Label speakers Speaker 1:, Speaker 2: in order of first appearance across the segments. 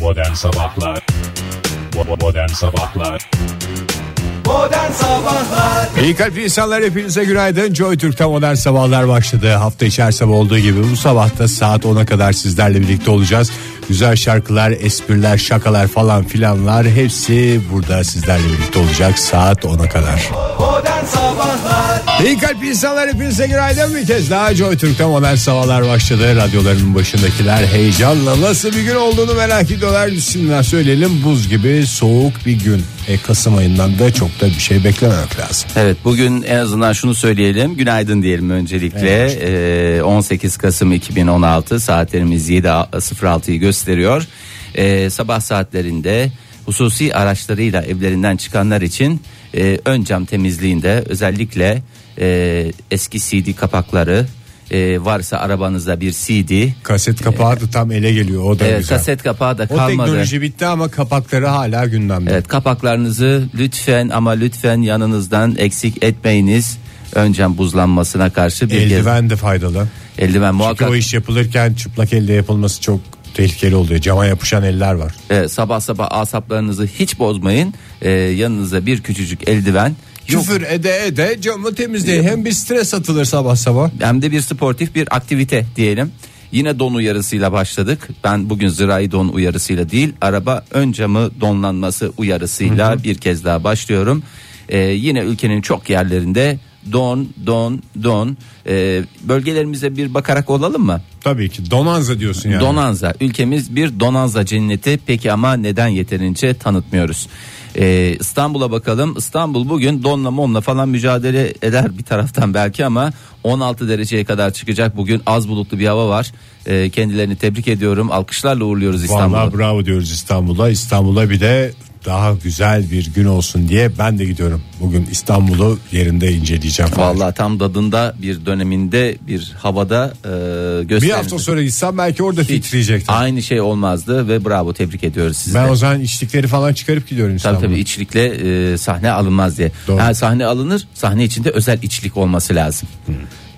Speaker 1: Modern Sabahlar Bo- Modern Sabahlar
Speaker 2: İyi kalpli insanlar hepinize günaydın. Joy Türk'te modern sabahlar başladı. Hafta içi her sabah olduğu gibi bu sabahta saat 10'a kadar sizlerle birlikte olacağız. Güzel şarkılar, espriler, şakalar falan filanlar hepsi burada sizlerle birlikte olacak saat 10'a kadar. İyi kalpli insanlar hepinize günaydın bir kez daha Joy Türk'te modern sabahlar başladı. Radyolarının başındakiler heyecanla nasıl bir gün olduğunu merak ediyorlar. Şimdiden söyleyelim buz gibi soğuk bir gün. E, Kasım ayından da çok da bir şey beklememek lazım.
Speaker 3: Evet bugün en azından şunu söyleyelim. Günaydın diyelim öncelikle. Ee, 18 Kasım 2016 saatlerimiz 7.06'yı gösteriyor. Ee, sabah saatlerinde hususi araçlarıyla evlerinden çıkanlar için e, ön cam temizliğinde özellikle e, eski CD kapakları e, varsa arabanızda bir CD
Speaker 2: Kaset kapağı da tam ele geliyor o da
Speaker 3: e,
Speaker 2: güzel.
Speaker 3: kaset kapağı da
Speaker 2: o
Speaker 3: kalmadı.
Speaker 2: teknoloji bitti ama kapakları hala gündemde.
Speaker 3: Evet kapaklarınızı lütfen ama lütfen yanınızdan eksik etmeyiniz. Önce buzlanmasına karşı bir kez
Speaker 2: Eldiven de faydalı.
Speaker 3: eldiven
Speaker 2: Çünkü
Speaker 3: muhakkak
Speaker 2: o iş yapılırken çıplak elle yapılması çok tehlikeli oluyor. Cama yapışan eller var.
Speaker 3: e, sabah sabah asaplarınızı hiç bozmayın. E, yanınıza bir küçücük eldiven yok.
Speaker 2: Küfür ede ede camı temizleyin. Hem bir stres atılır sabah sabah.
Speaker 3: hem de bir sportif bir aktivite diyelim. Yine don uyarısıyla başladık. Ben bugün zirai don uyarısıyla değil, araba ön camı donlanması uyarısıyla bir kez daha başlıyorum. Ee, yine ülkenin çok yerlerinde don, don, don. Ee, bölgelerimize bir bakarak olalım mı?
Speaker 2: Tabii ki donanza diyorsun yani.
Speaker 3: Donanza. Ülkemiz bir donanza cenneti. Peki ama neden yeterince tanıtmıyoruz? Ee, İstanbul'a bakalım. İstanbul bugün donla monla falan mücadele eder bir taraftan belki ama 16 dereceye kadar çıkacak. Bugün az bulutlu bir hava var. Ee, kendilerini tebrik ediyorum. Alkışlarla uğurluyoruz
Speaker 2: Vallahi
Speaker 3: İstanbul'u.
Speaker 2: bravo diyoruz İstanbul'a. İstanbul'a bir de daha güzel bir gün olsun diye ben de gidiyorum. Bugün İstanbul'u yerinde inceleyeceğim.
Speaker 3: Vallahi tam dadında bir döneminde bir havada e,
Speaker 2: Bir
Speaker 3: gösteriniz.
Speaker 2: hafta sonra gitsem belki orada titreyecektim.
Speaker 3: Aynı şey olmazdı ve bravo tebrik ediyoruz sizi.
Speaker 2: Ben
Speaker 3: de.
Speaker 2: o zaman içlikleri falan çıkarıp gidiyorum
Speaker 3: Tabii
Speaker 2: İstanbul'a.
Speaker 3: tabii içlikle e, sahne alınmaz diye.
Speaker 2: Doğru.
Speaker 3: Ha, sahne alınır. Sahne içinde özel içlik olması lazım.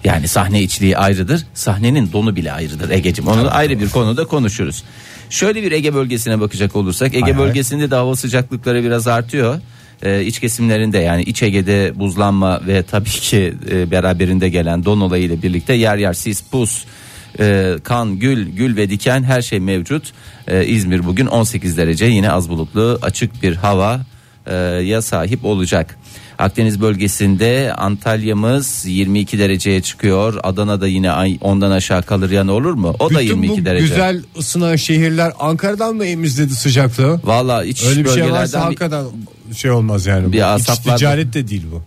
Speaker 3: Yani sahne içliği ayrıdır. Sahnenin donu bile ayrıdır Ege'cim. Onu ayrı bir konuda konuşuruz. Şöyle bir Ege bölgesine bakacak olursak Ege
Speaker 2: Hay hay.
Speaker 3: bölgesinde de hava sıcaklıkları biraz artıyor. E, iç kesimlerinde yani iç Ege'de buzlanma ve tabii ki e, beraberinde gelen don olayıyla birlikte yer yer sis, pus, e, kan, gül, gül ve diken her şey mevcut. E, İzmir bugün 18 derece yine az bulutlu açık bir hava e, ya sahip olacak. Akdeniz bölgesinde Antalya'mız 22 dereceye çıkıyor. Adana'da yine ay- ondan aşağı kalır yani olur mu? O da
Speaker 2: Bütün
Speaker 3: 22
Speaker 2: bu
Speaker 3: derece.
Speaker 2: güzel ısınan şehirler Ankara'dan mı emizledi sıcaklığı?
Speaker 3: Valla iç
Speaker 2: Öyle bir şey
Speaker 3: bölgelerden
Speaker 2: varsa
Speaker 3: bir-
Speaker 2: hakikaten şey olmaz yani.
Speaker 3: Bir
Speaker 2: Bir İç
Speaker 3: asaplardan-
Speaker 2: ticaret de değil bu.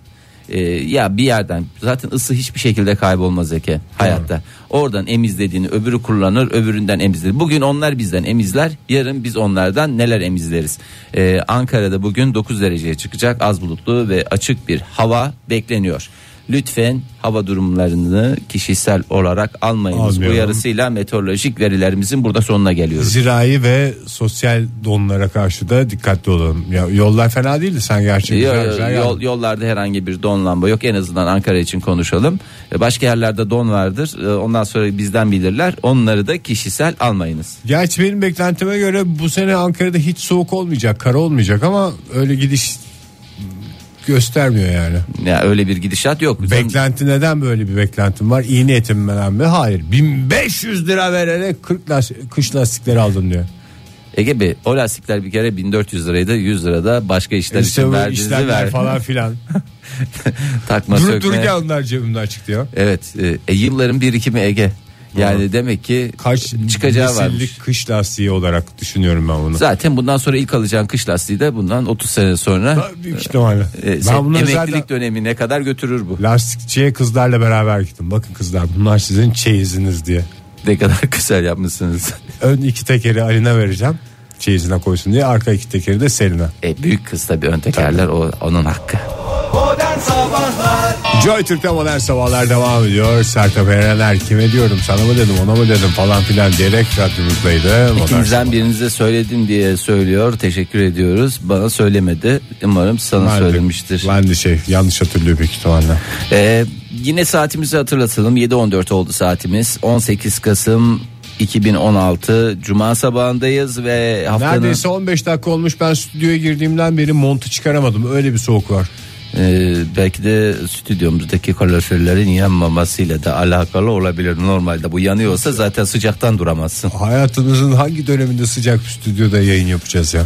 Speaker 3: Ee, ya bir yerden zaten ısı hiçbir şekilde kaybolmaz Eke hayatta. Oradan emizlediğini öbürü kullanır öbüründen emizler. Bugün onlar bizden emizler yarın biz onlardan neler emizleriz. Ee, Ankara'da bugün 9 dereceye çıkacak az bulutlu ve açık bir hava bekleniyor. Lütfen hava durumlarını kişisel olarak almayınız.
Speaker 2: Almayalım.
Speaker 3: Uyarısıyla meteorolojik verilerimizin burada sonuna geliyoruz.
Speaker 2: Zirai ve sosyal donlara karşı da dikkatli olalım. Ya, yollar fena değildi sen gerçi.
Speaker 3: Yo-
Speaker 2: güzel
Speaker 3: yo-
Speaker 2: güzel
Speaker 3: yol,
Speaker 2: yağdı.
Speaker 3: yollarda herhangi bir don lamba yok en azından Ankara için konuşalım. E, Başka yerlerde don vardır. E, Ondan sonra bizden bilirler. Onları da kişisel almayınız.
Speaker 2: Gerçi benim beklentime göre bu sene Ankara'da hiç soğuk olmayacak, kara olmayacak ama öyle gidiş göstermiyor yani.
Speaker 3: Ya öyle bir gidişat yok.
Speaker 2: Beklenti neden böyle bir beklentim var? İyi niyetimden mi? Hayır. 1500 lira vererek 40 las- kış lastikleri aldım diyor.
Speaker 3: Ege Bey o lastikler bir kere 1400 liraydı 100 lirada başka işler
Speaker 2: İşte
Speaker 3: için
Speaker 2: bu
Speaker 3: verdiğinizi
Speaker 2: işlemler
Speaker 3: ver.
Speaker 2: falan filan.
Speaker 3: Takma
Speaker 2: Durup
Speaker 3: sökme.
Speaker 2: dururken onlar cebimden çıktı ya.
Speaker 3: Evet e, e, yılların birikimi Ege. Yani demek ki
Speaker 2: Kaç
Speaker 3: çıkacağı varmış.
Speaker 2: nesillik kış lastiği olarak düşünüyorum ben bunu.
Speaker 3: Zaten bundan sonra ilk alacağın kış lastiği de bundan 30 sene sonra
Speaker 2: Büyük ihtimalle.
Speaker 3: e,
Speaker 2: ben
Speaker 3: sen-
Speaker 2: bunları
Speaker 3: emeklilik
Speaker 2: zaten
Speaker 3: dönemi ne kadar götürür bu?
Speaker 2: lastikçiye kızlarla beraber gittim. Bakın kızlar bunlar sizin çeyiziniz diye.
Speaker 3: Ne kadar güzel yapmışsınız.
Speaker 2: Ön iki tekeri Alin'e vereceğim. Çeyizine koysun diye. Arka iki tekeri de Selin'e.
Speaker 3: E, büyük kız tabii ön tekerler o onun hakkı.
Speaker 2: Joy Türk'te modern sabahlar devam ediyor. Sertab Erener kime diyorum sana mı dedim ona mı dedim falan filan diyerek radyomuzdaydı. Modern
Speaker 3: İkinizden birinize söyledim diye söylüyor. Teşekkür ediyoruz. Bana söylemedi. Umarım sana
Speaker 2: Sabahlar.
Speaker 3: söylemiştir.
Speaker 2: Ben de şey yanlış hatırlıyor büyük ihtimalle.
Speaker 3: E, yine saatimizi hatırlatalım. 7.14 oldu saatimiz. 18 Kasım 2016 Cuma sabahındayız ve haftanın
Speaker 2: Neredeyse 15 dakika olmuş ben stüdyoya girdiğimden beri montu çıkaramadım öyle bir soğuk var.
Speaker 3: Ee, belki de stüdyomuzdaki kaloriferlerin yanmamasıyla da alakalı olabilir. Normalde bu yanıyorsa zaten sıcaktan duramazsın.
Speaker 2: Hayatınızın hangi döneminde sıcak bir stüdyoda yayın yapacağız ya?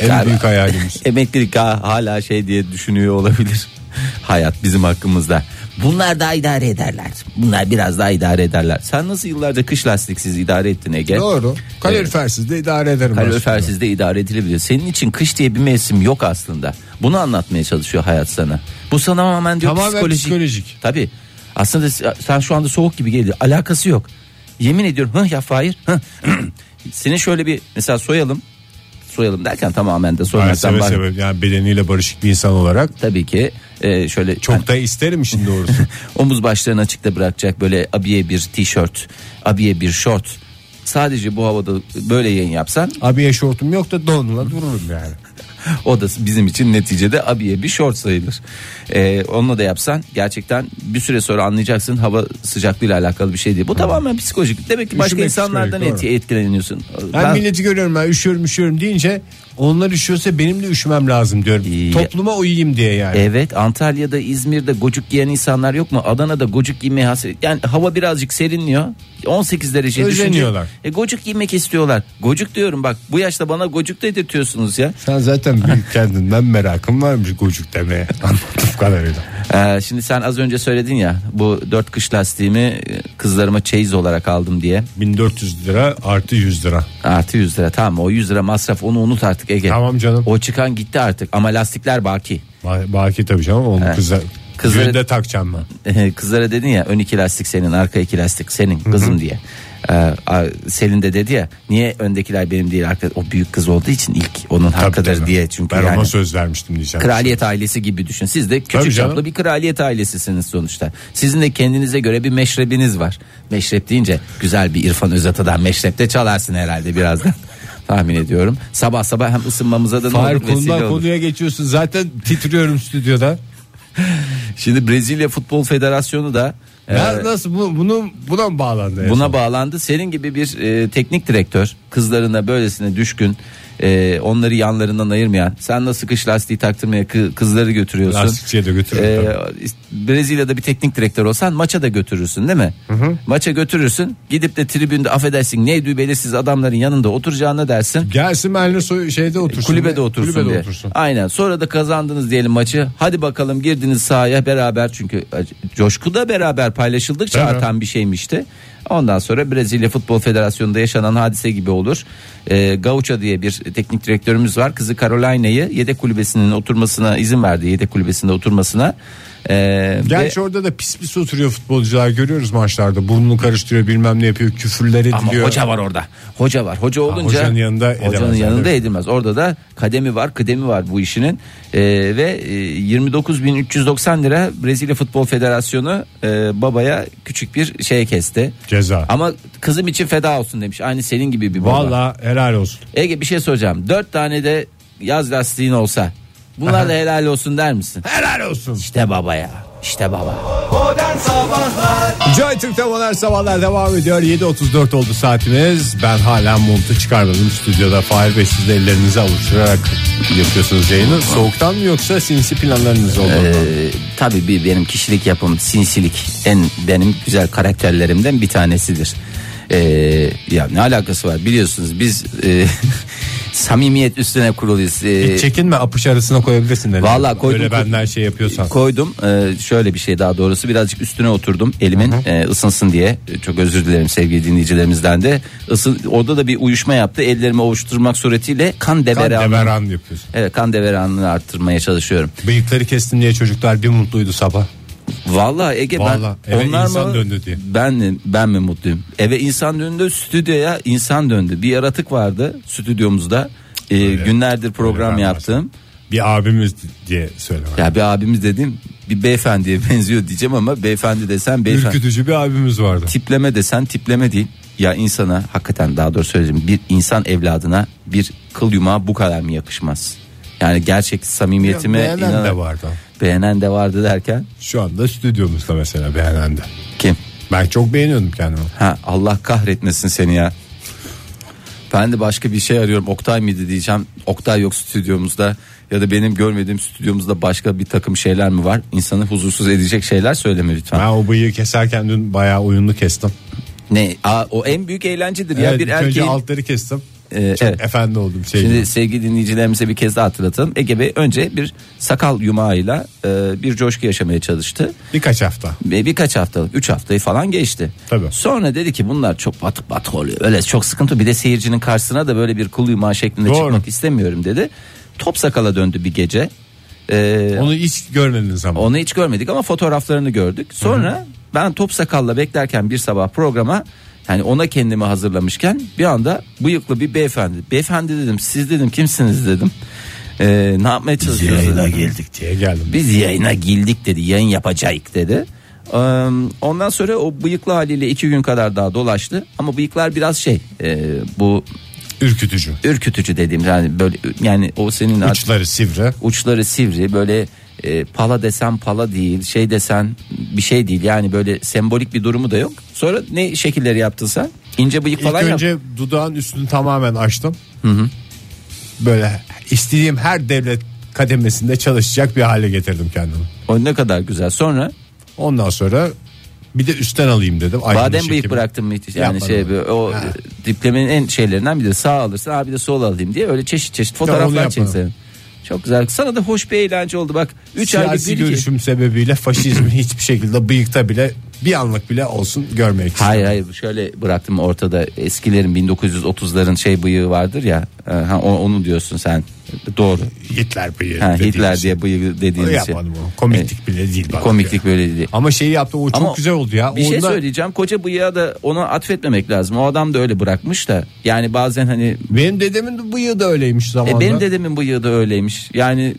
Speaker 2: En
Speaker 3: Galiba.
Speaker 2: büyük hayalimiz.
Speaker 3: Emeklilik ha- hala şey diye düşünüyor olabilir. Hayat bizim hakkımızda. Bunlar da idare ederler. Bunlar biraz daha idare ederler. Sen nasıl yıllarca kış lastiksiz idare ettin Ege?
Speaker 2: Doğru. Kalorifersiz de idare ederim. ben stüdyoyu.
Speaker 3: Kalorifersiz de idare edilebilir. Senin için kış diye bir mevsim yok aslında. Bunu anlatmaya çalışıyor hayat sana. Bu sana tamamen diyor
Speaker 2: Tamamen
Speaker 3: psikolojik.
Speaker 2: psikolojik.
Speaker 3: Tabii. Aslında sen şu anda soğuk gibi geliyor. Alakası yok. Yemin ediyorum hı ya Fahir. Hı. Senin şöyle bir mesela soyalım. Soyalım derken tamamen de
Speaker 2: Ben
Speaker 3: soymaktan
Speaker 2: seve
Speaker 3: var.
Speaker 2: seve, yani bedeniyle barışık bir insan olarak
Speaker 3: Tabii ki e, şöyle
Speaker 2: çok da isterim işin doğrusu.
Speaker 3: omuz başlarını açıkta bırakacak böyle abiye bir tişört, abiye bir şort. Sadece bu havada böyle yayın yapsan
Speaker 2: Abiye şortum yok da donla dururum yani.
Speaker 3: O da bizim için neticede abiye bir şort sayılır. Ee, onunla da yapsan gerçekten bir süre sonra anlayacaksın hava sıcaklığıyla alakalı bir şey değil. Bu tamamen psikolojik. Demek ki başka
Speaker 2: Üşümek
Speaker 3: insanlardan
Speaker 2: psikolojik, doğru.
Speaker 3: etki- etkileniyorsun.
Speaker 2: Ben,
Speaker 3: Ben-
Speaker 2: milleti görüyorum ben üşüyorum üşüyorum deyince onlar üşüyorsa benim de üşümem lazım diyorum.
Speaker 3: İyi. E-
Speaker 2: Topluma uyuyayım diye yani.
Speaker 3: Evet Antalya'da İzmir'de gocuk giyen insanlar yok mu? Adana'da gocuk giymeye hasret. Yani hava birazcık serinliyor. 18 derece
Speaker 2: Özeniyorlar.
Speaker 3: düşünce- E, gocuk giymek istiyorlar. Gocuk diyorum bak bu yaşta bana gocuk dedirtiyorsunuz ya.
Speaker 2: Sen zaten bir kendinden merakın varmış gocuk demeye anlattığım kadarıyla.
Speaker 3: Ee, şimdi sen az önce söyledin ya bu dört kış lastiğimi e, kızlarıma çeyiz olarak aldım diye.
Speaker 2: 1400 lira artı 100 lira.
Speaker 3: Artı 100 lira tamam o 100 lira masraf onu unut artık Ege.
Speaker 2: Tamam canım.
Speaker 3: O çıkan gitti artık ama lastikler baki.
Speaker 2: Ba- Baki tabii canım onu
Speaker 3: Evet.
Speaker 2: kıza,
Speaker 3: Kızları-
Speaker 2: düğünde takacağım ben.
Speaker 3: Ee, Kızlara dedin ya ön iki lastik senin arka iki lastik senin kızım diye. Ee, a- Selin de dedi ya niye öndekiler benim değil arka o büyük kız olduğu için ilk onun hakkıdır
Speaker 2: tabii.
Speaker 3: diye çünkü
Speaker 2: Ben ona
Speaker 3: yani
Speaker 2: söz vermiştim diyeceğim.
Speaker 3: kraliyet ailesi gibi düşün. Siz de
Speaker 2: Tabii
Speaker 3: küçük
Speaker 2: canım.
Speaker 3: çaplı bir kraliyet ailesisiniz sonuçta. Sizin de kendinize göre bir meşrebiniz var. Meşrep deyince güzel bir İrfan Özata'dan meşrepte çalarsın herhalde birazdan. Tahmin ediyorum. Sabah sabah hem ısınmamıza da ne
Speaker 2: Hayır
Speaker 3: olur, vesile
Speaker 2: konudan
Speaker 3: olur.
Speaker 2: konuya geçiyorsun. Zaten titriyorum stüdyoda.
Speaker 3: Şimdi Brezilya Futbol Federasyonu da
Speaker 2: Ya
Speaker 3: e,
Speaker 2: nasıl bu, bunu buna mı bağlandı? en son?
Speaker 3: buna bağlandı. Senin gibi bir e, teknik direktör kızlarına böylesine düşkün e, onları yanlarından ayırmayan sen nasıl kış lastiği taktırmaya kı- kızları götürüyorsun.
Speaker 2: Lastikçiye de götürüyorum
Speaker 3: E, Brezilya'da bir teknik direktör olsan maça da götürürsün değil mi? Maça götürürsün gidip de tribünde affedersin neydi belirsiz adamların yanında oturacağına dersin.
Speaker 2: Gelsin benimle soy- şeyde otursun.
Speaker 3: e, Kulübede otursun
Speaker 2: Kulübede
Speaker 3: diye.
Speaker 2: otursun.
Speaker 3: Aynen. Sonra da kazandınız diyelim maçı. Hadi bakalım girdiniz sahaya beraber çünkü coşku da beraber paylaşıldıkça
Speaker 2: Evet.
Speaker 3: artan bir şeymişti. Ondan sonra Brezilya Futbol Federasyonu'nda yaşanan hadise gibi olur. Ee, Gaucho diye bir teknik direktörümüz var. Kızı Carolina'yı yedek kulübesinin oturmasına izin verdi. Yedek kulübesinde oturmasına. Ee, ve-
Speaker 2: Gerçi orada da pis pis oturuyor futbolcular görüyoruz maçlarda. Burnunu karıştırıyor bilmem ne yapıyor küfürler ediliyor.
Speaker 3: Ama hoca var orada. Hoca var. Hoca olunca
Speaker 2: hocanın yanında
Speaker 3: hocanın
Speaker 2: edemez,
Speaker 3: yanında
Speaker 2: evet.
Speaker 3: edilmez. Orada da kademi var, kıdemi var bu işinin. Ee, ve e, 29.390 lira Brezilya Futbol Federasyonu e, babaya küçük bir şey kesti.
Speaker 2: Ceza.
Speaker 3: Ama kızım için feda olsun demiş. Aynı senin gibi bir baba.
Speaker 2: Valla helal olsun.
Speaker 3: Ege bir şey soracağım. 4 tane de yaz lastiğin olsa. Bunlar da helal olsun der misin?
Speaker 2: Helal olsun.
Speaker 3: İşte baba ya. İşte baba.
Speaker 2: Joy Türk'te modern sabahlar devam ediyor. 7.34 oldu saatimiz. Ben hala montu çıkarmadım stüdyoda. Fahir Bey siz de ellerinizi avuşturarak yapıyorsunuz yayını. Soğuktan mı yoksa sinsi planlarınız oldu?
Speaker 3: Ee, tabii bir benim kişilik yapım sinsilik en benim güzel karakterlerimden bir tanesidir. Ee, ya ne alakası var biliyorsunuz biz e, samimiyet üstüne kuruluyuz. Ee,
Speaker 2: Hiç çekinme apış arasına koyabilirsin. dedim.
Speaker 3: Vallahi koydum.
Speaker 2: Öyle benden şey yapıyorsan.
Speaker 3: Koydum Ee, şöyle bir şey daha doğrusu birazcık üstüne oturdum elimin e, ısınsın diye Ee, çok özür dilerim sevgili dinleyicilerimizden de Isın, orada da bir uyuşma yaptı ellerimi ovuşturmak suretiyle kan
Speaker 2: Kan
Speaker 3: deveranını
Speaker 2: deveran yapıyorsun.
Speaker 3: evet, kan deveranını arttırmaya çalışıyorum.
Speaker 2: Bıyıkları kestim diye çocuklar bir mutluydu sabah.
Speaker 3: Vallahi Ege
Speaker 2: Vallahi,
Speaker 3: ben
Speaker 2: eve
Speaker 3: onlar
Speaker 2: insan
Speaker 3: mı
Speaker 2: döndü diye.
Speaker 3: ben ben mi mutluyum? Eve insan döndü, stüdyoya insan döndü. Bir yaratık vardı stüdyomuzda. Ee, günlerdir program
Speaker 2: öyle ben
Speaker 3: yaptım.
Speaker 2: Bir abimiz diye söyleme.
Speaker 3: Ya bir abimiz dedim bir beyefendiye benziyor diyeceğim ama beyefendi desen beyefendi.
Speaker 2: Ürkütücü bir abimiz vardı.
Speaker 3: Tipleme desen tipleme değil. Ya insana hakikaten daha doğru söyleyeyim bir insan evladına bir kıl yumağı bu kadar mı yakışmaz? Yani gerçek samimiyetime
Speaker 2: Beğenen
Speaker 3: inanan-
Speaker 2: de vardı.
Speaker 3: Beğenen de vardı derken
Speaker 2: Şu anda stüdyomuzda mesela beğenen de.
Speaker 3: kim?
Speaker 2: Ben çok beğeniyordum kendimi.
Speaker 3: Ha, Allah kahretmesin seni ya. Ben de başka bir şey arıyorum. Oktay mıydı diyeceğim. Oktay yok stüdyomuzda ya da benim görmediğim stüdyomuzda başka bir takım şeyler mi var? İnsanı huzursuz edecek şeyler söyleme lütfen.
Speaker 2: Ben o bıyığı keserken dün bayağı oyunlu kestim.
Speaker 3: Ne? Aa, o en büyük eğlencedir ya
Speaker 2: Evet,
Speaker 3: bir
Speaker 2: ilk önce
Speaker 3: erkeğin.
Speaker 2: altları kestim.
Speaker 3: Ee,
Speaker 2: Çok
Speaker 3: evet.
Speaker 2: efendi oldum şey.
Speaker 3: Şimdi
Speaker 2: gibi.
Speaker 3: sevgili dinleyicilerimize bir kez daha hatırlatalım. Ege Bey önce bir sakal yumağıyla e, bir coşku yaşamaya çalıştı.
Speaker 2: Birkaç hafta.
Speaker 3: Ve birkaç haftalık 3 haftayı falan geçti.
Speaker 2: Tabii.
Speaker 3: Sonra dedi ki bunlar çok batık batık oluyor. Öyle çok sıkıntı. Bir de seyircinin karşısına da böyle bir kul yumağı şeklinde
Speaker 2: Doğru.
Speaker 3: çıkmak istemiyorum dedi. Top sakala döndü bir gece. Ee,
Speaker 2: Onu hiç görmediniz ama.
Speaker 3: onu hiç görmedik ama fotoğraflarını gördük. Sonra ben top sakalla beklerken bir sabah programa yani ona kendimi hazırlamışken bir anda bıyıklı bir beyefendi. Beyefendi dedim siz dedim kimsiniz dedim. Ee, ne yapmaya çalışıyorsunuz? dedim.
Speaker 2: geldik diye geldim.
Speaker 3: Biz yayına girdik dedi yayın yapacağız dedi. Ee, Ondan sonra o bıyıklı haliyle iki gün kadar daha dolaştı. Ama bıyıklar biraz şey e, bu
Speaker 2: Ürkütücü.
Speaker 3: ürkütücü dediğim yani böyle yani o senin ad-
Speaker 2: Uçları sivri.
Speaker 3: uçları sivri böyle e, pala desen pala değil şey desen bir şey değil yani böyle sembolik bir durumu da yok. Sonra ne şekilleri yaptın sen? İnce bıyık
Speaker 2: İlk
Speaker 3: falan yap-
Speaker 2: önce dudağın üstünü tamamen açtım. Böyle istediğim her devlet kademesinde çalışacak bir hale getirdim kendimi.
Speaker 3: O ne kadar güzel. Sonra
Speaker 2: Ondan sonra bir de üstten alayım dedim. Ayrı bir
Speaker 3: badem
Speaker 2: şekilde.
Speaker 3: bıyık bıraktın mı hiç? Yani
Speaker 2: Yapmadım.
Speaker 3: şey böyle o
Speaker 2: Ha.
Speaker 3: e, diplemenin en şeylerinden biri sağ alırsın abi de sol alayım diye öyle çeşit çeşit
Speaker 2: onu
Speaker 3: fotoğraflar
Speaker 2: yapmadım.
Speaker 3: çeksin. Çok güzel. Sana da hoş bir eğlence oldu bak. 3 aylık
Speaker 2: Siyasi
Speaker 3: dedi ki-
Speaker 2: görüşüm sebebiyle faşizmi hiçbir şekilde bıyıkta bile bir anlık bile olsun görmek istedim.
Speaker 3: Hayır hayır şöyle bıraktım ortada eskilerin 1930'ların şey bıyığı vardır ya e, ha, o- onu diyorsun sen doğru
Speaker 2: Hitler bıyığı.
Speaker 3: Ha,
Speaker 2: dediğimiz
Speaker 3: Hitler
Speaker 2: şey.
Speaker 3: diye bıyığı
Speaker 2: Onu
Speaker 3: dediğiniz şey.
Speaker 2: yapmadım onu. Komiklik bile değil. bana
Speaker 3: Komiklik
Speaker 2: göre.
Speaker 3: böyle değil.
Speaker 2: Ama şeyi yaptım o çok
Speaker 3: Ama
Speaker 2: güzel oldu ya.
Speaker 3: Bir şey
Speaker 2: Onda
Speaker 3: söyleyeceğim. Koca bıyığa da ona atfetmemek lazım. O adam da öyle bırakmış da. Yani bazen hani
Speaker 2: Benim dedemin de bıyığı da öyleymiş zamanında.
Speaker 3: e, benim dedemin bıyığı da öyleymiş. Yani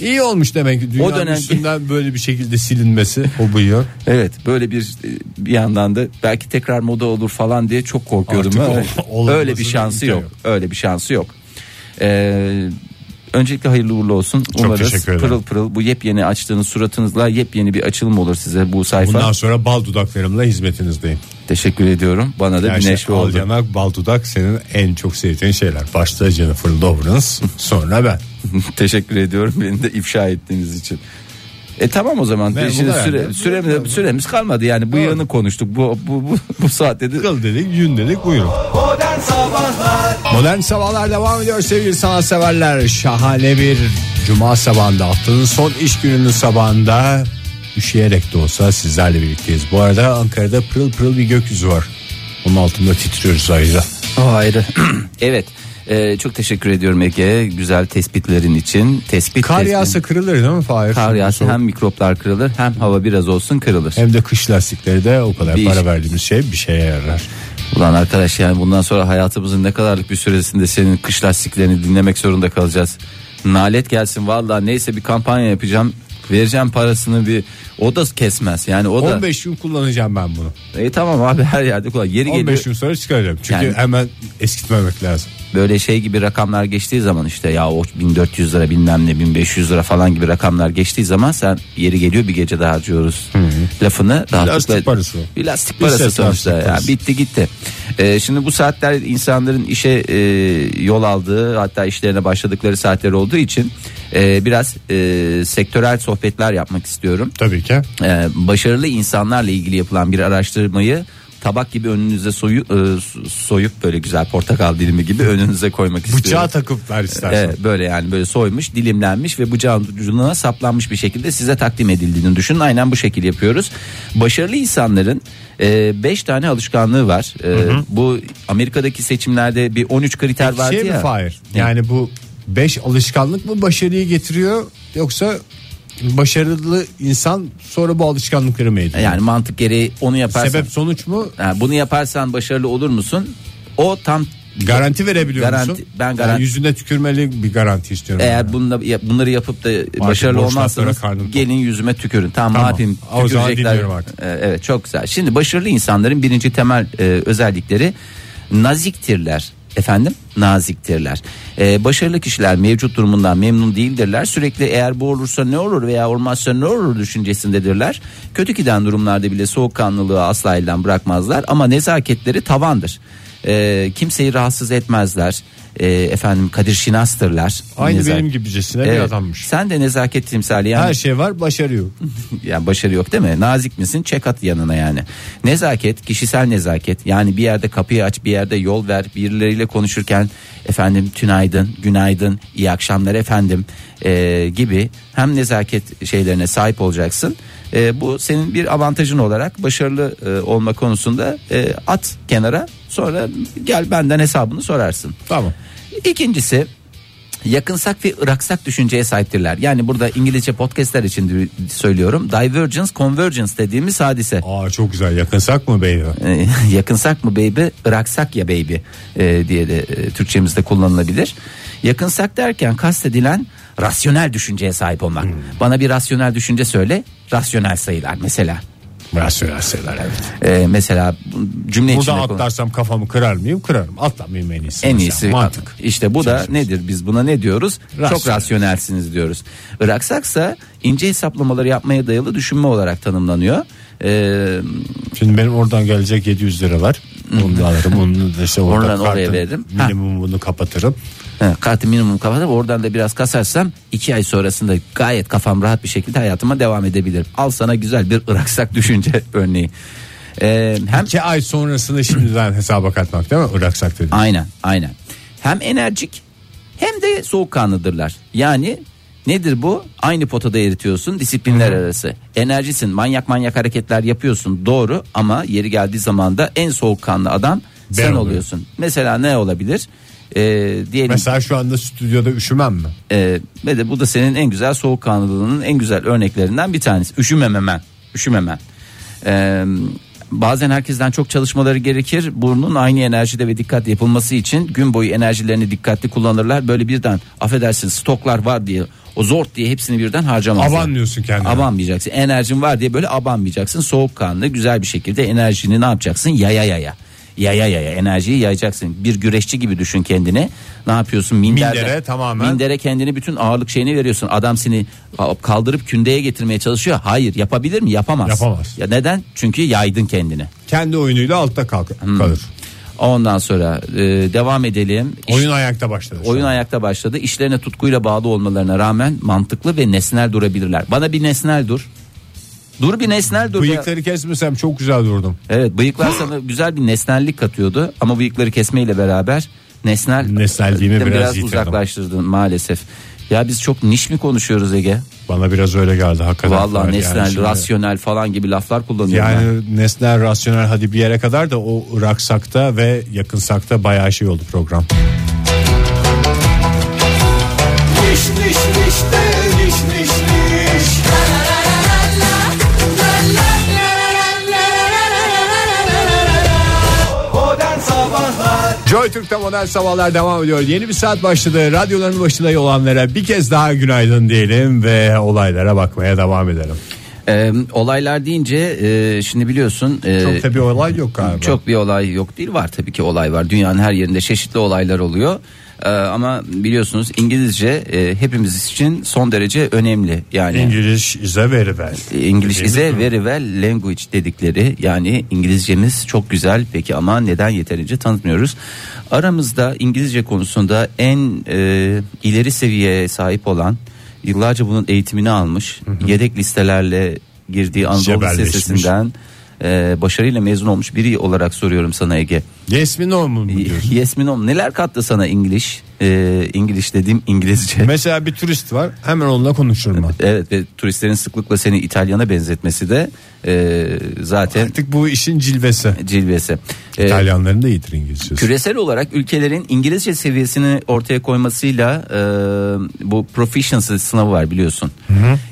Speaker 2: İyi olmuş demek ki dünyanın
Speaker 3: O dönemki-
Speaker 2: üstünden böyle bir şekilde silinmesi o bıyığı.
Speaker 3: evet böyle bir e, bir yandan da belki tekrar moda olur falan diye çok korkuyorum.
Speaker 2: Artık
Speaker 3: Öyle,
Speaker 2: ol- olmaması
Speaker 3: öyle bir şansı
Speaker 2: mümkün
Speaker 3: yok.
Speaker 2: yok.
Speaker 3: Öyle bir şansı yok. Ee, öncelikle hayırlı uğurlu olsun. Umarız
Speaker 2: teşekkür ederim.
Speaker 3: pırıl pırıl bu yepyeni açtığınız suratınızla yepyeni bir açılım olur size bu sayfa.
Speaker 2: Bundan sonra bal dudaklarımla hizmetinizdeyim.
Speaker 3: Teşekkür ediyorum. Bana da
Speaker 2: Yani
Speaker 3: bir
Speaker 2: işte
Speaker 3: neşve
Speaker 2: al
Speaker 3: oldu.
Speaker 2: yanak, bal dudak senin en çok sevdiğin şeyler. Başta Jennifer Lawrence sonra ben.
Speaker 3: Teşekkür ediyorum beni de ifşa ettiğiniz için. E tamam o zaman.
Speaker 2: Ne, bu
Speaker 3: Şimdi
Speaker 2: kadar
Speaker 3: süre,
Speaker 2: mı?
Speaker 3: süremiz, süremiz kalmadı yani bu yanı konuştuk. Bu bu bu, bu saatte de
Speaker 2: Kıl dedik, yün dedik, buyurun. Modern Sabahlar devam ediyor sevgili sanatseverler. Şahane bir cuma sabahında haftanın son iş gününün sabahında üşüyerek de olsa sizlerle birlikteyiz. Bu arada Ankara'da pırıl pırıl bir gökyüzü var. Onun altında titriyoruz ayrıca.
Speaker 3: O ayrı. evet. e, çok teşekkür ediyorum Ege güzel tespitlerin için. Tespit
Speaker 2: Kar
Speaker 3: tespit-
Speaker 2: yağsa kırılır değil mi Fahir?
Speaker 3: Kar yağsa
Speaker 2: Soğuk.
Speaker 3: hem mikroplar kırılır hem hava biraz olsun kırılır.
Speaker 2: Hem de kış lastikleri de o kadar
Speaker 3: Bir
Speaker 2: para
Speaker 3: iş-
Speaker 2: verdiğimiz şey bir şeye yarar.
Speaker 3: Ulan arkadaş yani bundan sonra hayatımızın ne kadarlık bir süresinde senin kış lastiklerini dinlemek zorunda kalacağız. Nalet gelsin valla neyse bir kampanya yapacağım. Vereceğim parasını bir o da kesmez yani o da
Speaker 2: 15 gün kullanacağım ben bunu.
Speaker 3: E tamam abi her yerde kullan. Yeri
Speaker 2: 15
Speaker 3: geliyor
Speaker 2: gün sonra çıkaracağım. Çünkü
Speaker 3: Yani-
Speaker 2: hemen eskitmemek lazım.
Speaker 3: böyle şey gibi rakamlar geçtiği zaman işte ya o 1400 lira bilmem ne 1500 lira falan gibi rakamlar geçtiği zaman sen yeri geliyor bir gece daha harcıyoruz lafını rahatlıkla.
Speaker 2: Lastik parası.
Speaker 3: Bir lastik
Speaker 2: Bir
Speaker 3: parası
Speaker 2: ses
Speaker 3: sonuçta
Speaker 2: lastik
Speaker 3: ya
Speaker 2: parası.
Speaker 3: bitti gitti. E, şimdi bu saatler insanların işe e, yol aldığı hatta işlerine başladıkları saatler olduğu için e, biraz e, sektörel sohbetler yapmak istiyorum.
Speaker 2: Tabii ki.
Speaker 3: Ee, başarılı insanlarla ilgili yapılan bir araştırmayı tabak gibi önünüze soyu, e, so- soyup böyle güzel portakal dilimi gibi önünüze koymak
Speaker 2: Bıçağa
Speaker 3: istiyorum.
Speaker 2: takıp ver istersen.
Speaker 3: Evet, böyle yani böyle soymuş dilimlenmiş ve bıçağın ucuna saplanmış bir şekilde size takdim edildiğini düşünün aynen bu şekil yapıyoruz. Başarılı insanların 5 tane alışkanlığı var. E, Bu Amerika'daki seçimlerde bir 13 kriter vardı
Speaker 2: şey mi
Speaker 3: ya.
Speaker 2: Fahir? Yani bu 5 alışkanlık mı başarıyı getiriyor yoksa başarılı insan sonra bu alışkanlıkları mı ediniyor?
Speaker 3: Yani mantık gereği onu yaparsan
Speaker 2: Sebep sonuç mu?
Speaker 3: Ha, bunu yaparsan başarılı olur musun? O tam
Speaker 2: Garanti verebiliyor
Speaker 3: Garanti-
Speaker 2: musun?
Speaker 3: ben
Speaker 2: Yani
Speaker 3: garanti-
Speaker 2: yüzüne tükürmeli bir garanti istiyorum.
Speaker 3: Eğer
Speaker 2: yani.
Speaker 3: bununla- ya- bunları yapıp da başarılı
Speaker 2: borçtan
Speaker 3: olmazsanız
Speaker 2: sonra karnım tok.
Speaker 3: gelin yüzüme tükürün. Tamam,
Speaker 2: Tamam.
Speaker 3: ne yapayım?
Speaker 2: O zaman
Speaker 3: Tükürecekler.
Speaker 2: dinliyorum artık.
Speaker 3: Ee, evet çok güzel. Şimdi başarılı insanların birinci temel e, özellikleri naziktirler. efendim naziktirler. Ee, başarılı kişiler mevcut durumundan memnun değildirler. Sürekli eğer bu olursa ne olur veya olmazsa ne olur düşüncesindedirler. Kötü giden durumlarda bile soğukkanlılığı asla elden bırakmazlar ama nezaketleri tavandır. Ee, kimseyi rahatsız etmezler. Ee, efendim Kadir Şinastırlar.
Speaker 2: Aynı
Speaker 3: Nezak-
Speaker 2: benim gibicesine bir
Speaker 3: Evet.
Speaker 2: adammış.
Speaker 3: Sen de nezaket timsali yani
Speaker 2: Her şey var başarı yok.
Speaker 3: yani başarı yok değil mi? Nazik misin? Çek at yanına yani. Nezaket, kişisel nezaket. Yani bir yerde kapıyı aç, bir yerde yol ver. Birileriyle konuşurken efendim tünaydın, günaydın, iyi akşamlar efendim eee, gibi hem nezaket şeylerine sahip olacaksın. Eee, bu senin bir avantajın olarak başarılı eee, olma konusunda eee, at kenara sonra gel benden hesabını sorarsın.
Speaker 2: Tamam.
Speaker 3: İkincisi yakınsak ve ıraksak düşünceye sahiptirler. Yani burada İngilizce podcastler için di- söylüyorum. Divergence, convergence dediğimiz hadise.
Speaker 2: Aa çok güzel yakınsak mı beyler?
Speaker 3: Ee, yakınsak mı baby, ıraksak ya baby e, diye de e, Türkçemizde kullanılabilir. Yakınsak derken kastedilen rasyonel düşünceye sahip olmak. Bana bir rasyonel düşünce söyle, rasyonel sayılar mesela.
Speaker 2: Rasyonel şeyler evet.
Speaker 3: Ee, mesela bu cümle içinde
Speaker 2: Burada
Speaker 3: kullan-
Speaker 2: atlarsam kafamı kırar mıyım? Kırarım. Atlamayayım en iyisi.
Speaker 3: En
Speaker 2: mesela.
Speaker 3: iyisi
Speaker 2: Mantık.
Speaker 3: İşte bu da nedir biz buna ne diyoruz? Çok
Speaker 2: Rasyonel.
Speaker 3: rasyonelsiniz diyoruz. Iraksaksa ince hesaplamaları yapmaya dayalı düşünme olarak tanımlanıyor. Ee,
Speaker 2: Şimdi benim oradan gelecek 700 lira var. Onu da alırım. Onu da işte orada
Speaker 3: Oradan oraya
Speaker 2: kartın
Speaker 3: veririm. Ha.
Speaker 2: Minimumunu kapatırım.
Speaker 3: he, kartı minimum kapatıp oradan da biraz kasarsam iki ay sonrasında gayet kafam rahat bir şekilde hayatıma devam edebilirim. Al sana güzel bir Iraksak düşünce örneği. Ee, hem
Speaker 2: İki ay sonrasını şimdiden hesaba katmak değil mi? Iraksak dedim.
Speaker 3: Aynen aynen. Hem enerjik hem de soğukkanlıdırlar. Yani nedir bu? Aynı potada eritiyorsun disiplinler arası. Enerjisin manyak manyak hareketler yapıyorsun doğru ama yeri geldiği zaman da en soğukkanlı adam sen
Speaker 2: oluyorum.
Speaker 3: oluyorsun. Mesela ne olabilir? Ee, diyelim
Speaker 2: Mesela şu anda stüdyoda üşümem mi?
Speaker 3: ee, ve de bu da senin en güzel soğukkanlılığının en güzel örneklerinden bir tanesi. Üşümememen, üşümemen. Ee, bazen herkesten çok çalışmaları gerekir. Burnun aynı enerjide ve dikkat yapılması için gün boyu enerjilerini dikkatli kullanırlar. Böyle birden affedersin stoklar var diye o zort diye hepsini birden harcamazlar.
Speaker 2: Abanmıyorsun kendine.
Speaker 3: Abanmayacaksın. Enerjin var diye böyle abanmayacaksın. Soğukkanlı güzel bir şekilde enerjini ne yapacaksın? Yaya yaya. Yaya yaya enerjiyi yayacaksın. Bir güreşçi gibi düşün kendini. Ne yapıyorsun? Minderde,
Speaker 2: Mindere tamamen.
Speaker 3: Mindere kendini bütün ağırlık şeyini veriyorsun. Adam seni kaldırıp kündeye getirmeye çalışıyor. Hayır yapabilir mi? Yapamaz.
Speaker 2: Yapamaz.
Speaker 3: Ya neden? Çünkü yaydın kendini.
Speaker 2: Kendi oyunuyla altta kalk-
Speaker 3: Hmm.
Speaker 2: kalır.
Speaker 3: Ondan sonra e, devam edelim. İş-
Speaker 2: Oyun ayakta başladı. şu
Speaker 3: Oyun
Speaker 2: an.
Speaker 3: ayakta başladı. İşlerine tutkuyla bağlı olmalarına rağmen mantıklı ve nesnel durabilirler. Bana bir nesnel dur. Dur bir nesnel dur. ya.
Speaker 2: Bıyıkları kesmesem çok güzel durdum.
Speaker 3: Evet bıyıklar sana güzel bir nesnellik katıyordu ama bıyıkları kesmeyle beraber nesnel
Speaker 2: Nesnelliğimi
Speaker 3: biraz,
Speaker 2: biraz yitirdim.
Speaker 3: uzaklaştırdın maalesef. Ya biz çok niş mi konuşuyoruz Ege?
Speaker 2: Bana biraz öyle geldi hakikaten.
Speaker 3: Vallahi
Speaker 2: Yani
Speaker 3: nesnel,
Speaker 2: şimdi-
Speaker 3: rasyonel falan gibi laflar kullanıyorum. ben.
Speaker 2: Yani nesnel rasyonel hadi bir yere kadar da o ıraksakta ve yakınsakta bayağı şey oldu program.
Speaker 4: Diş diş diş de diş diş diş. Modern Sabahlar
Speaker 2: Joy Türk'te modern sabahlar devam ediyor. Yeni bir saat başladı. Radyoların başında olanlara bir kez daha günaydın diyelim ve olaylara bakmaya devam edelim.
Speaker 3: Ee, olaylar deyince e, şimdi biliyorsun e,
Speaker 2: Çok tabii olay yok galiba.
Speaker 3: Çok bir olay yok değil var tabii ki olay var. Dünyanın her yerinde çeşitli olaylar oluyor. Ee, ama biliyorsunuz İngilizce e, hepimiz için son derece önemli. Yani
Speaker 2: İngiliz ize veri ver.
Speaker 3: İngiliz
Speaker 2: Dediğimiz
Speaker 3: bize
Speaker 2: mi?
Speaker 3: very well language dedikleri yani İngilizcemiz çok güzel peki ama neden yeterince tanıtmıyoruz? Aramızda İngilizce konusunda en e, ileri seviyeye sahip olan yıllarca bunun eğitimini almış yedek listelerle girdiği Anadolu
Speaker 2: Cebelleşmiş.
Speaker 3: Lisesi'nden e, başarıyla mezun olmuş biri olarak soruyorum sana Ege.
Speaker 2: Yes mi no mu
Speaker 3: ee,
Speaker 2: diyorsun?
Speaker 3: Yes mi no mu? neler kattı sana İngiliz? E, İngiliz dediğim İngilizce.
Speaker 2: Mesela bir turist var hemen onunla konuşurum ben.
Speaker 3: Evet ve turistlerin sıklıkla seni İtalyana benzetmesi de e, zaten
Speaker 2: Artık bu işin cilvesi.
Speaker 3: cilvesi. Ee,
Speaker 2: İtalyanların da iyidir İngilizcesi.
Speaker 3: küresel olarak ülkelerin İngilizce seviyesini ortaya koymasıyla e, bu proficiency sınavı var biliyorsun.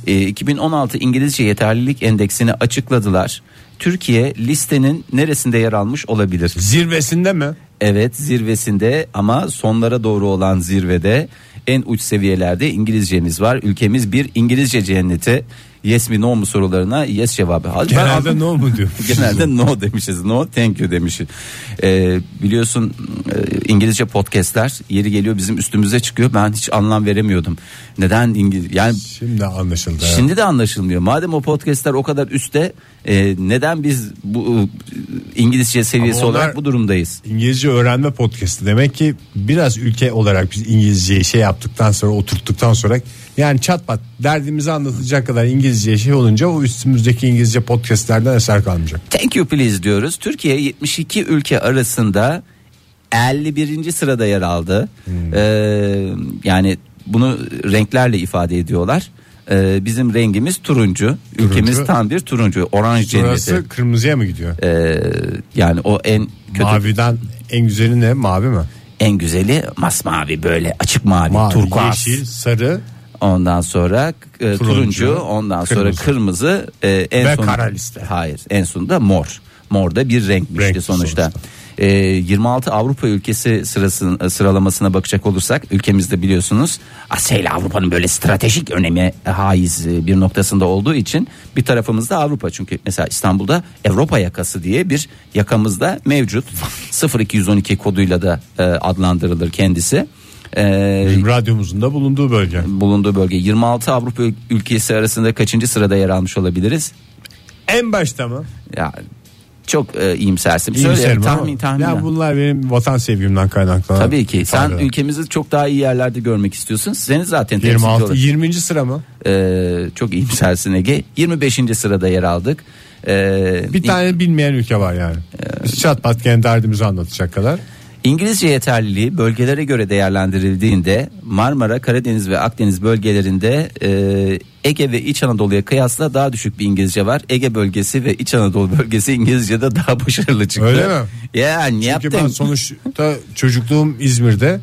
Speaker 3: E, 2016 İngilizce yeterlilik endeksini açıkladılar. Türkiye listenin neresinde yer almış olabilir?
Speaker 2: Zirvesinde mi?
Speaker 3: Evet zirvesinde ama sonlara doğru olan zirvede en uç seviyelerde İngilizcemiz var. Ülkemiz bir İngilizce cenneti. yes mi no mu sorularına yes cevabı. Halbuki ben
Speaker 2: Genelde ne mu diyor.
Speaker 3: Genelde no demişiz. No thank you demişiz. Ee, biliyorsun e, İngilizce podcastler yeri geliyor bizim üstümüze çıkıyor. Ben hiç anlam veremiyordum. Neden İngiliz yani
Speaker 2: Şimdi anlaşıldı.
Speaker 3: şimdi de anlaşılmıyor. Madem o podcastler o kadar üstte e, neden biz bu e, İngilizce seviyesi
Speaker 2: Ama onlar-
Speaker 3: olarak bu durumdayız?
Speaker 2: İngilizce öğrenme podcastı demek ki biraz ülke olarak biz İngilizceyi şey yaptıktan sonra oturttuktan sonra yani çat pat derdimizi anlatacak kadar İngilizce şey olunca o üstümüzdeki İngilizce podcastlerden eser kalmayacak.
Speaker 3: Thank you please diyoruz. Türkiye 72 ülke arasında 51. sırada yer aldı.
Speaker 2: Hmm.
Speaker 3: Ee, yani bunu renklerle ifade ediyorlar. Ee, bizim rengimiz turuncu. Ülkemiz tam bir turuncu. Oranj cenneti.
Speaker 2: Sonrası kırmızıya mı gidiyor?
Speaker 3: Ee, yani o en kötü
Speaker 2: Maviden en güzeli ne? Mavi mi?
Speaker 3: en güzeli masmavi böyle açık mavi,
Speaker 2: Mavi,
Speaker 3: turkuaz.
Speaker 2: yeşil, sarı
Speaker 3: Ondan sonra e, turuncu,
Speaker 2: Turuncu,
Speaker 3: ondan
Speaker 2: kırmızı.
Speaker 3: sonra kırmızı, e, en
Speaker 2: Ve
Speaker 3: son
Speaker 2: kara liste.
Speaker 3: Hayır, en sonunda mor. Mor da bir renkmişti
Speaker 2: Renkti
Speaker 3: sonuçta.
Speaker 2: sonuçta.
Speaker 3: E, 26 Avrupa ülkesi sırasın, e, sıralamasına bakacak olursak ülkemizde biliyorsunuz Asya ile Avrupa'nın böyle stratejik önemi e, haiz e, bir noktasında olduğu için bir tarafımızda Avrupa çünkü mesela İstanbul'da Avrupa yakası diye bir yakamızda mevcut 0212 koduyla da e, adlandırılır kendisi. E,
Speaker 2: bizim radyomuzun da bulunduğu bölge.
Speaker 3: bulunduğu bölge 26 Avrupa ül- ülkesi arasında kaçıncı sırada yer almış olabiliriz?
Speaker 2: En başta mı?
Speaker 3: Ya çok e, iyimsersin. Söyle
Speaker 2: İyimserim ama-
Speaker 3: tahmin tahmin.
Speaker 2: Ya bunlar benim vatan sevgimden kaynaklanan.
Speaker 3: Tabii ki. Sen
Speaker 2: Faydalar.
Speaker 3: ülkemizi çok daha iyi yerlerde görmek istiyorsun. Seni zaten temsil
Speaker 2: 26
Speaker 3: ediyorlar.
Speaker 2: 20. sıra mı?
Speaker 3: E, çok iyimsersin Ege. 25. sırada yer aldık. E,
Speaker 2: Bir
Speaker 3: İng-
Speaker 2: tane bilmeyen ülke var yani.
Speaker 3: Ee,
Speaker 2: Biz çat pat kendi derdimizi anlatacak kadar.
Speaker 3: İngilizce yeterliliği bölgelere göre değerlendirildiğinde Marmara, Karadeniz ve Akdeniz bölgelerinde e, Ege ve İç Anadolu'ya kıyasla daha düşük bir İngilizce var. Ege bölgesi ve İç Anadolu bölgesi İngilizce'de daha başarılı çıktı.
Speaker 2: Öyle mi?
Speaker 3: Ya ne
Speaker 2: Çünkü
Speaker 3: yaptın?
Speaker 2: ben sonuçta çocukluğum İzmir'de.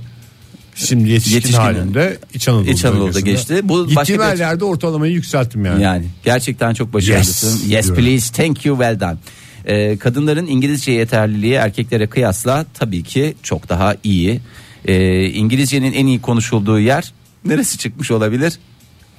Speaker 2: Şimdi yetişkin,
Speaker 3: Yetişkin
Speaker 2: halimde İç Anadolu'da,
Speaker 3: İç Anadolu'da
Speaker 2: bölgesinde.
Speaker 3: geçti. Bu başka
Speaker 2: Gittiğim
Speaker 3: bir-
Speaker 2: her yerde ortalamayı yükselttim yani.
Speaker 3: Yani gerçekten çok başarılısın.
Speaker 2: Yes
Speaker 3: Yes,
Speaker 2: diyorum.
Speaker 3: please, thank you, well done. Ee, kadınların İngilizce yeterliliği erkeklere kıyasla tabii ki çok daha iyi. Ee, İngilizcenin en iyi konuşulduğu yer neresi çıkmış olabilir?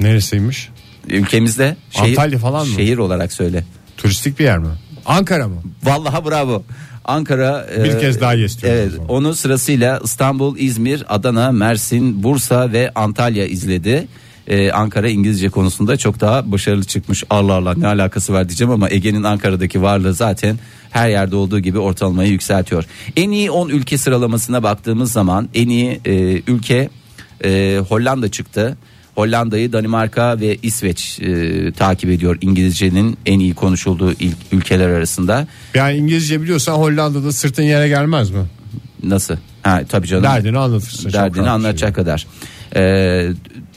Speaker 2: Neresiymiş?
Speaker 3: Ülkemizde şehir,
Speaker 2: Antalya falan mı?
Speaker 3: Şehir olarak söyle.
Speaker 2: Turistik bir yer mi? Ankara mı?
Speaker 3: Vallahi bravo. Ankara e,
Speaker 2: Bir kez daha yes diyoruz
Speaker 3: Evet,
Speaker 2: o zaman.
Speaker 3: onu sırasıyla İstanbul, İzmir, Adana, Mersin, Bursa ve Antalya izledi. Ee, Ankara İngilizce konusunda çok daha başarılı çıkmış. Allah Allah ne alakası var diyeceğim ama Ege'nin Ankara'daki varlığı zaten her yerde olduğu gibi ortalamayı yükseltiyor. En iyi 10 ülke sıralamasına baktığımız zaman en iyi e, ülke e, Hollanda çıktı. Hollanda'yı Danimarka ve İsveç e, takip ediyor İngilizcenin en iyi konuşulduğu ilk ülkeler arasında.
Speaker 2: Yani İngilizce biliyorsan Hollanda'da sırtın yere gelmez mi?
Speaker 3: Nasıl? Ha tabii canım.
Speaker 2: Derdini anlatırsın. Çok rahat bir
Speaker 3: derdini
Speaker 2: şey.
Speaker 3: anlatacak kadar. Ee,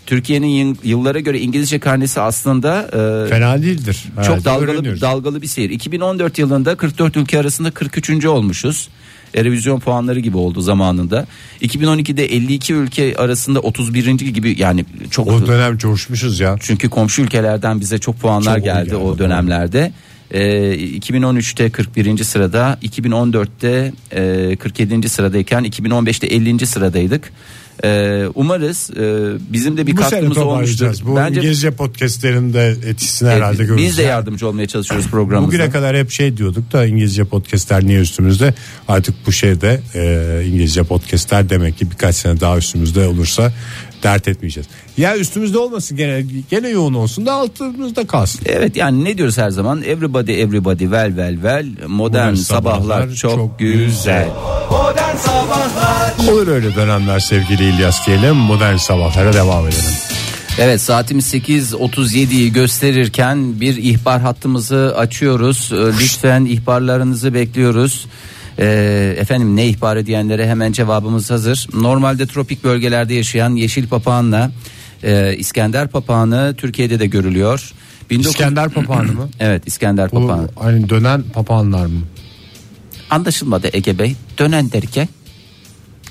Speaker 3: Türkiye'nin yıl- yıllara göre İngilizce karnesi aslında e,
Speaker 2: Fena değildir.
Speaker 3: çok
Speaker 2: Herhalde
Speaker 3: dalgalı
Speaker 2: öğreniyoruz.
Speaker 3: dalgalı bir seyir. 2014 yılında 44 ülke arasında 43. olmuşuz. Erevizyon puanları gibi oldu zamanında. 2012'de 52 ülke arasında 31. gibi yani çok
Speaker 2: o dönem coşmuşuz ya.
Speaker 3: çünkü komşu ülkelerden bize çok puanlar
Speaker 2: Çok
Speaker 3: geldi
Speaker 2: geldi.
Speaker 3: o dönemlerde. Ee, 2013'te 41. sırada, 2014'te e, 47. sıradayken 2015'te 50. sıradaydık. Ee, umarız e, bizim de bir
Speaker 2: Bu sene
Speaker 3: katkımız olmuştur.
Speaker 2: toparlayacağız. Bu İngilizce podcastlerin de etkisini
Speaker 3: Evet,
Speaker 2: herhalde görürüz.
Speaker 3: biz de yardımcı olmaya çalışıyoruz programımızda.
Speaker 2: Bugüne kadar hep şey diyorduk da İngilizce podcastler niye üstümüzde? Artık bu şeyde e, İngilizce podcastler demek ki birkaç sene daha üstümüzde olursa dert etmeyeceğiz. Ya üstümüzde olmasın gene gene yoğun olsun da altımızda kalsın.
Speaker 3: Evet yani ne diyoruz her zaman? Everybody everybody well well well modern,
Speaker 2: Modern
Speaker 3: sabahlar,
Speaker 2: sabahlar
Speaker 3: çok,
Speaker 2: çok
Speaker 3: güzel.
Speaker 4: Modern Sabahlar
Speaker 2: Olur öyle dönemler sevgili İlyas diyelim. Modern sabahlara devam edelim.
Speaker 3: Evet saatimiz 8.37'yi gösterirken bir ihbar hattımızı açıyoruz. Ee, Lütfen ihbarlarınızı bekliyoruz. Ee, efendim ne ihbarı diyenlere hemen cevabımız hazır. Normalde tropik bölgelerde yaşayan yeşil papağanla e, İskender papağanı Türkiye'de de görülüyor. 19
Speaker 2: İskender papağanı mı?
Speaker 3: Evet İskender
Speaker 2: Bu
Speaker 3: papağanı.
Speaker 2: hani dönen papağanlar mı?
Speaker 3: Anlaşılmadı Ege Bey. Dönen derken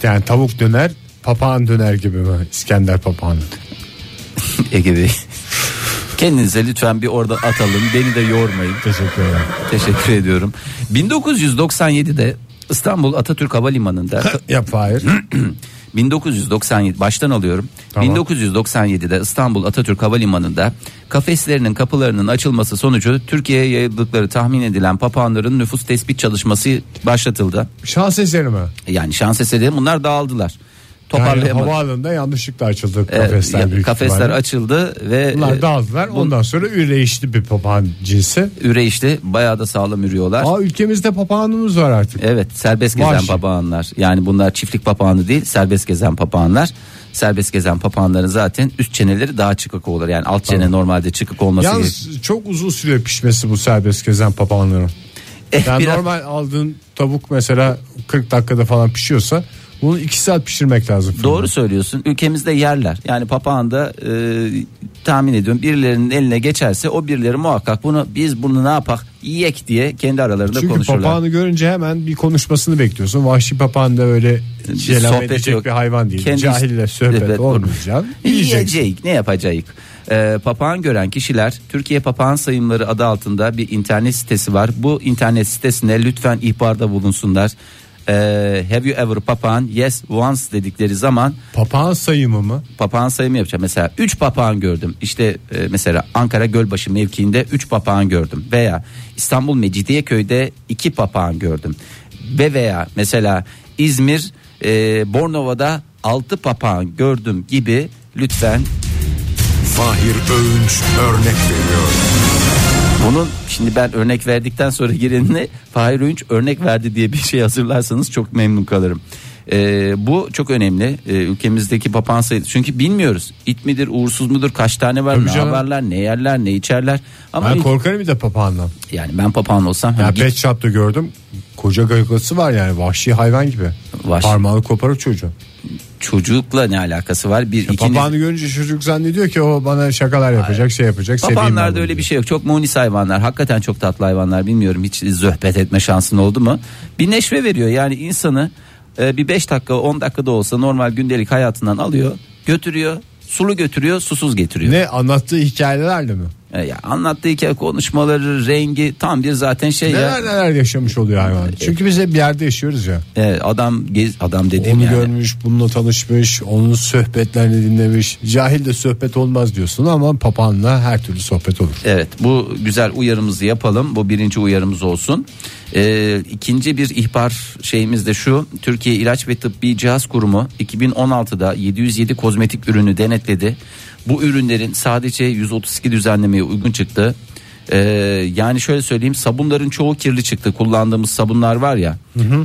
Speaker 2: Yani tavuk döner papağan döner gibi mi? İskender papağanı.
Speaker 3: Ege Bey. Kendinize lütfen bir orada atalım. Beni de yormayın.
Speaker 2: Teşekkür ederim.
Speaker 3: Teşekkür ediyorum. 1997'de İstanbul Atatürk Havalimanı'nda
Speaker 2: Yap hayır.
Speaker 3: 1997 baştan alıyorum.
Speaker 2: Tamam.
Speaker 3: 1997'de İstanbul Atatürk Havalimanı'nda kafeslerinin kapılarının açılması sonucu Türkiye'ye yayıldıkları tahmin edilen papağanların nüfus tespit çalışması başlatıldı.
Speaker 2: Şans eseri mi?
Speaker 3: Yani şans eseri bunlar dağıldılar.
Speaker 2: Yani
Speaker 3: Toparlayamadı.
Speaker 2: havaalanında yanlışlıkla açıldı
Speaker 3: Evet,
Speaker 2: kafesler
Speaker 3: Ee, ya-
Speaker 2: büyük
Speaker 3: kafesler
Speaker 2: ihtimalle.
Speaker 3: açıldı ve
Speaker 2: Bunlar
Speaker 3: e,
Speaker 2: dağıldılar.
Speaker 3: bu-
Speaker 2: Ondan sonra üreyişli bir papağan cinsi.
Speaker 3: üreyişli bayağı da sağlam ürüyorlar.
Speaker 2: Aa ülkemizde papağanımız var artık.
Speaker 3: Evet serbest gezen
Speaker 2: Vahşi.
Speaker 3: papağanlar yani bunlar çiftlik papağanı değil serbest gezen papağanlar. Serbest gezen papağanların zaten üst çeneleri daha çıkık olur yani alt çene normalde çıkık olması gerekiyor.
Speaker 2: Yalnız çok uzun sürüyor pişmesi bu serbest gezen papağanların.
Speaker 3: Eh,
Speaker 2: Yani
Speaker 3: biraz-
Speaker 2: normal aldığın tavuk mesela 40 dakikada falan pişiyorsa bunu 2 saat pişirmek lazım. fırında.
Speaker 3: Doğru söylüyorsun ülkemizde yerler yani papağan da e, tahmin ediyorum birilerinin eline geçerse o birileri muhakkak bunu biz bunu ne yapak yiyek diye kendi aralarında
Speaker 2: Çünkü
Speaker 3: konuşurlar.
Speaker 2: papağanı görünce hemen bir konuşmasını bekliyorsun. Vahşi papağan da öyle şeylenme
Speaker 3: sohbet
Speaker 2: edecek
Speaker 3: yok.
Speaker 2: bir hayvan değil.
Speaker 3: Kendi-
Speaker 2: Cahille sohbet
Speaker 3: Evet,
Speaker 2: olmayacak. Yiyeceksin.
Speaker 3: Yiyecek ne yapacağız? Ee, papağan gören kişiler Türkiye Papağan Sayımları adı altında bir internet sitesi var. Bu internet sitesine lütfen ihbarda bulunsunlar. Ee, have you ever papağan? Yes once dedikleri zaman
Speaker 2: Papağan sayımı mı?
Speaker 3: papağan sayımı yapacağım. Mesela 3 papağan gördüm. İşte e, mesela Ankara Gölbaşı mevkiinde 3 papağan gördüm. Veya İstanbul Mecidiyeköy'de 2 papağan gördüm. Ve veya mesela İzmir e, Bornova'da 6 papağan gördüm gibi lütfen
Speaker 5: Fahir Öğünç örnek veriyor.
Speaker 3: bunun şimdi ben örnek verdikten sonra girenine Fahir Öğünç örnek verdi diye bir şey hazırlarsanız çok memnun kalırım. E, bu çok önemli E, ülkemizdeki papağan sayısı çünkü bilmiyoruz it midir uğursuz mudur kaç tane var
Speaker 2: Tabii
Speaker 3: ne
Speaker 2: canım.
Speaker 3: haberler ne yerler ne içerler ama
Speaker 2: Ben korkarım bir de papağandan.
Speaker 3: Yani ben papağan olsam
Speaker 2: Ya
Speaker 3: hani git-
Speaker 2: pet shop'ta gördüm. Koca gagası var yani vahşi hayvan gibi.
Speaker 3: Vahşi.
Speaker 2: Parmağını koparıp çocuğun.
Speaker 3: çocukla ne alakası var? Bir ikinci
Speaker 2: Papağanı görünce çocuk zannediyor ki o bana şakalar yapacak, şey yapacak. seveyim ben
Speaker 3: Papağanlarda
Speaker 2: bunu
Speaker 3: öyle bir
Speaker 2: diyor.
Speaker 3: şey yok. Çok munis hayvanlar. Hakikaten çok tatlı hayvanlar. Bilmiyorum hiç zöhbet etme şansın oldu mu? Bir neşve veriyor. Yani insanı e, bir 5 dakika 10 dakikada olsa normal gündelik hayatından alıyor, götürüyor. Sulu götürüyor, susuz getiriyor.
Speaker 2: Ne anlattığı hikayelerle mi?
Speaker 3: E, ya anlattığı hikaye konuşmaları, rengi tam bir zaten şey ya.
Speaker 2: Neler neler yaşamış oluyor hayvan. Çünkü biz hep bir yerde yaşıyoruz ya.
Speaker 3: E, adam gez, adam dediğim
Speaker 2: Onu
Speaker 3: yani.
Speaker 2: görmüş, bununla tanışmış, onun sohbetlerini dinlemiş. Cahil de sohbet olmaz diyorsun ama papağanla her türlü sohbet olur.
Speaker 3: Evet bu güzel uyarımızı yapalım. Bu birinci uyarımız olsun. Ee, ikinci bir ihbar şeyimiz de şu. Türkiye İlaç ve Tıbbi Cihaz Kurumu 2016'da 707 kozmetik ürünü denetledi. Bu ürünlerin sadece 132 düzenlemeye uygun çıktı. Ee, yani şöyle söyleyeyim sabunların çoğu kirli çıktı kullandığımız sabunlar var ya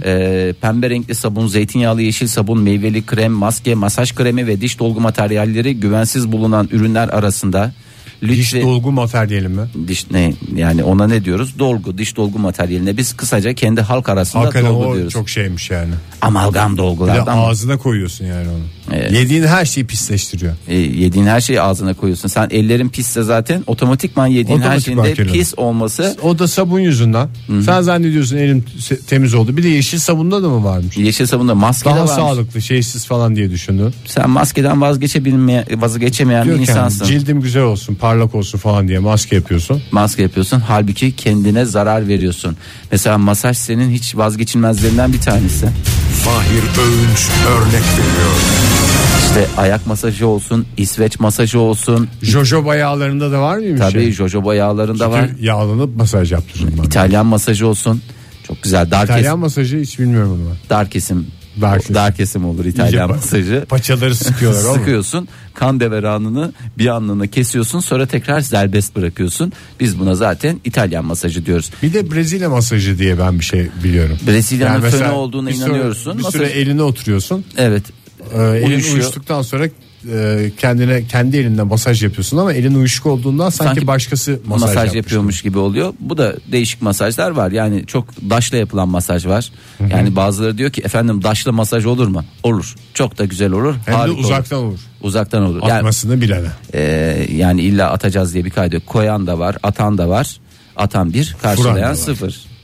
Speaker 3: Ee, pembe renkli sabun zeytinyağlı yeşil sabun meyveli krem maske masaj kremi ve diş dolgu materyalleri güvensiz bulunan ürünler arasında
Speaker 2: Diş
Speaker 3: lütfen-
Speaker 2: dolgu materyali mi?
Speaker 3: diş ne yani ona ne diyoruz? Dolgu, diş dolgu materyaline biz kısaca kendi halk arasında
Speaker 2: Hakikaten
Speaker 3: dolgu
Speaker 2: o
Speaker 3: diyoruz.
Speaker 2: çok şeymiş yani.
Speaker 3: Amalgam
Speaker 2: Bir de
Speaker 3: dolgulardan
Speaker 2: ağzına koyuyorsun yani onu.
Speaker 3: Evet.
Speaker 2: Yediğin her şeyi pisleştiriyor.
Speaker 3: e, yediğin her şeyi ağzına koyuyorsun. Sen ellerin pisse zaten otomatikman yediğin her
Speaker 2: Otomatikman
Speaker 3: şeyin de
Speaker 2: kirleniyor.
Speaker 3: pis olması
Speaker 2: O da sabun yüzünden. Sen zannediyorsun elim se- temiz oldu. Bir de yeşil sabunda da mı varmış?
Speaker 3: yeşil sabunda maske de
Speaker 2: Daha
Speaker 3: varmış.
Speaker 2: sağlıklı, şeysiz falan diye düşündün.
Speaker 3: Sen maskeden vazgeçebilmeyen vazgeçemeyen bir
Speaker 2: Diyor ki yani,
Speaker 3: insansın.
Speaker 2: cildim güzel olsun, parlak olsun falan diye maske yapıyorsun.
Speaker 3: maske yapıyorsun. Halbuki kendine zarar veriyorsun. Mesela masaj senin hiç vazgeçilmezlerinden bir tanesi.
Speaker 5: Fahir Öğünç örnek veriyor.
Speaker 3: İşte ayak masajı olsun, İsveç masajı olsun.
Speaker 2: Jojoba yağlarında da var mıymış?
Speaker 3: Tabii
Speaker 2: şey?
Speaker 3: jojoba yağlarında var.
Speaker 2: Çünkü yağlanıp masaj yaptırırım ben.
Speaker 3: İtalyan masajı olsun. Çok güzel. Dar,
Speaker 2: İtalyan masajı hiç bilmiyorum onu ben.
Speaker 3: kesim, dar kesim.
Speaker 2: Dar kesim.
Speaker 3: Dar kesim olur İtalyan
Speaker 2: İyice pa-
Speaker 3: masajı.
Speaker 2: Paçaları sıkıyorlar oğlum.
Speaker 3: Sıkıyorsun kan deveranını bir anlığına kesiyorsun sonra tekrar serbest bırakıyorsun. Biz buna zaten İtalyan masajı diyoruz.
Speaker 2: Bir de Brezilya masajı diye ben bir şey biliyorum.
Speaker 3: Brezilya'nın
Speaker 2: mesela
Speaker 3: fönü olduğuna
Speaker 2: bir süre-
Speaker 3: inanıyorsun.
Speaker 2: Bir süre
Speaker 3: Masaj-
Speaker 2: eline oturuyorsun.
Speaker 3: Evet.
Speaker 2: Ee, elin
Speaker 3: Uyuşuyor.
Speaker 2: uyuştuktan sonra e, kendine kendi elinden masaj yapıyorsun ama elin uyuşuk olduğundan sanki,
Speaker 3: Sanki
Speaker 2: başkası masaj,
Speaker 3: Masaj,
Speaker 2: yapmış.
Speaker 3: yapıyormuş gibi oluyor. Bu da değişik masajlar var. Yani çok daşla yapılan masaj var. Yani bazıları diyor ki efendim daşla masaj olur mu? Olur. Çok da güzel olur.
Speaker 2: Hem de
Speaker 3: Harika olur.
Speaker 2: uzaktan olur.
Speaker 3: Uzaktan olur. Yani
Speaker 2: Atmasını bilene.
Speaker 3: Ee, yani illa atacağız diye bir kaydı yok. Koyan da var, atan da var. Atan bir,
Speaker 2: Vuran da
Speaker 3: karşılayan
Speaker 2: var.
Speaker 3: sıfır.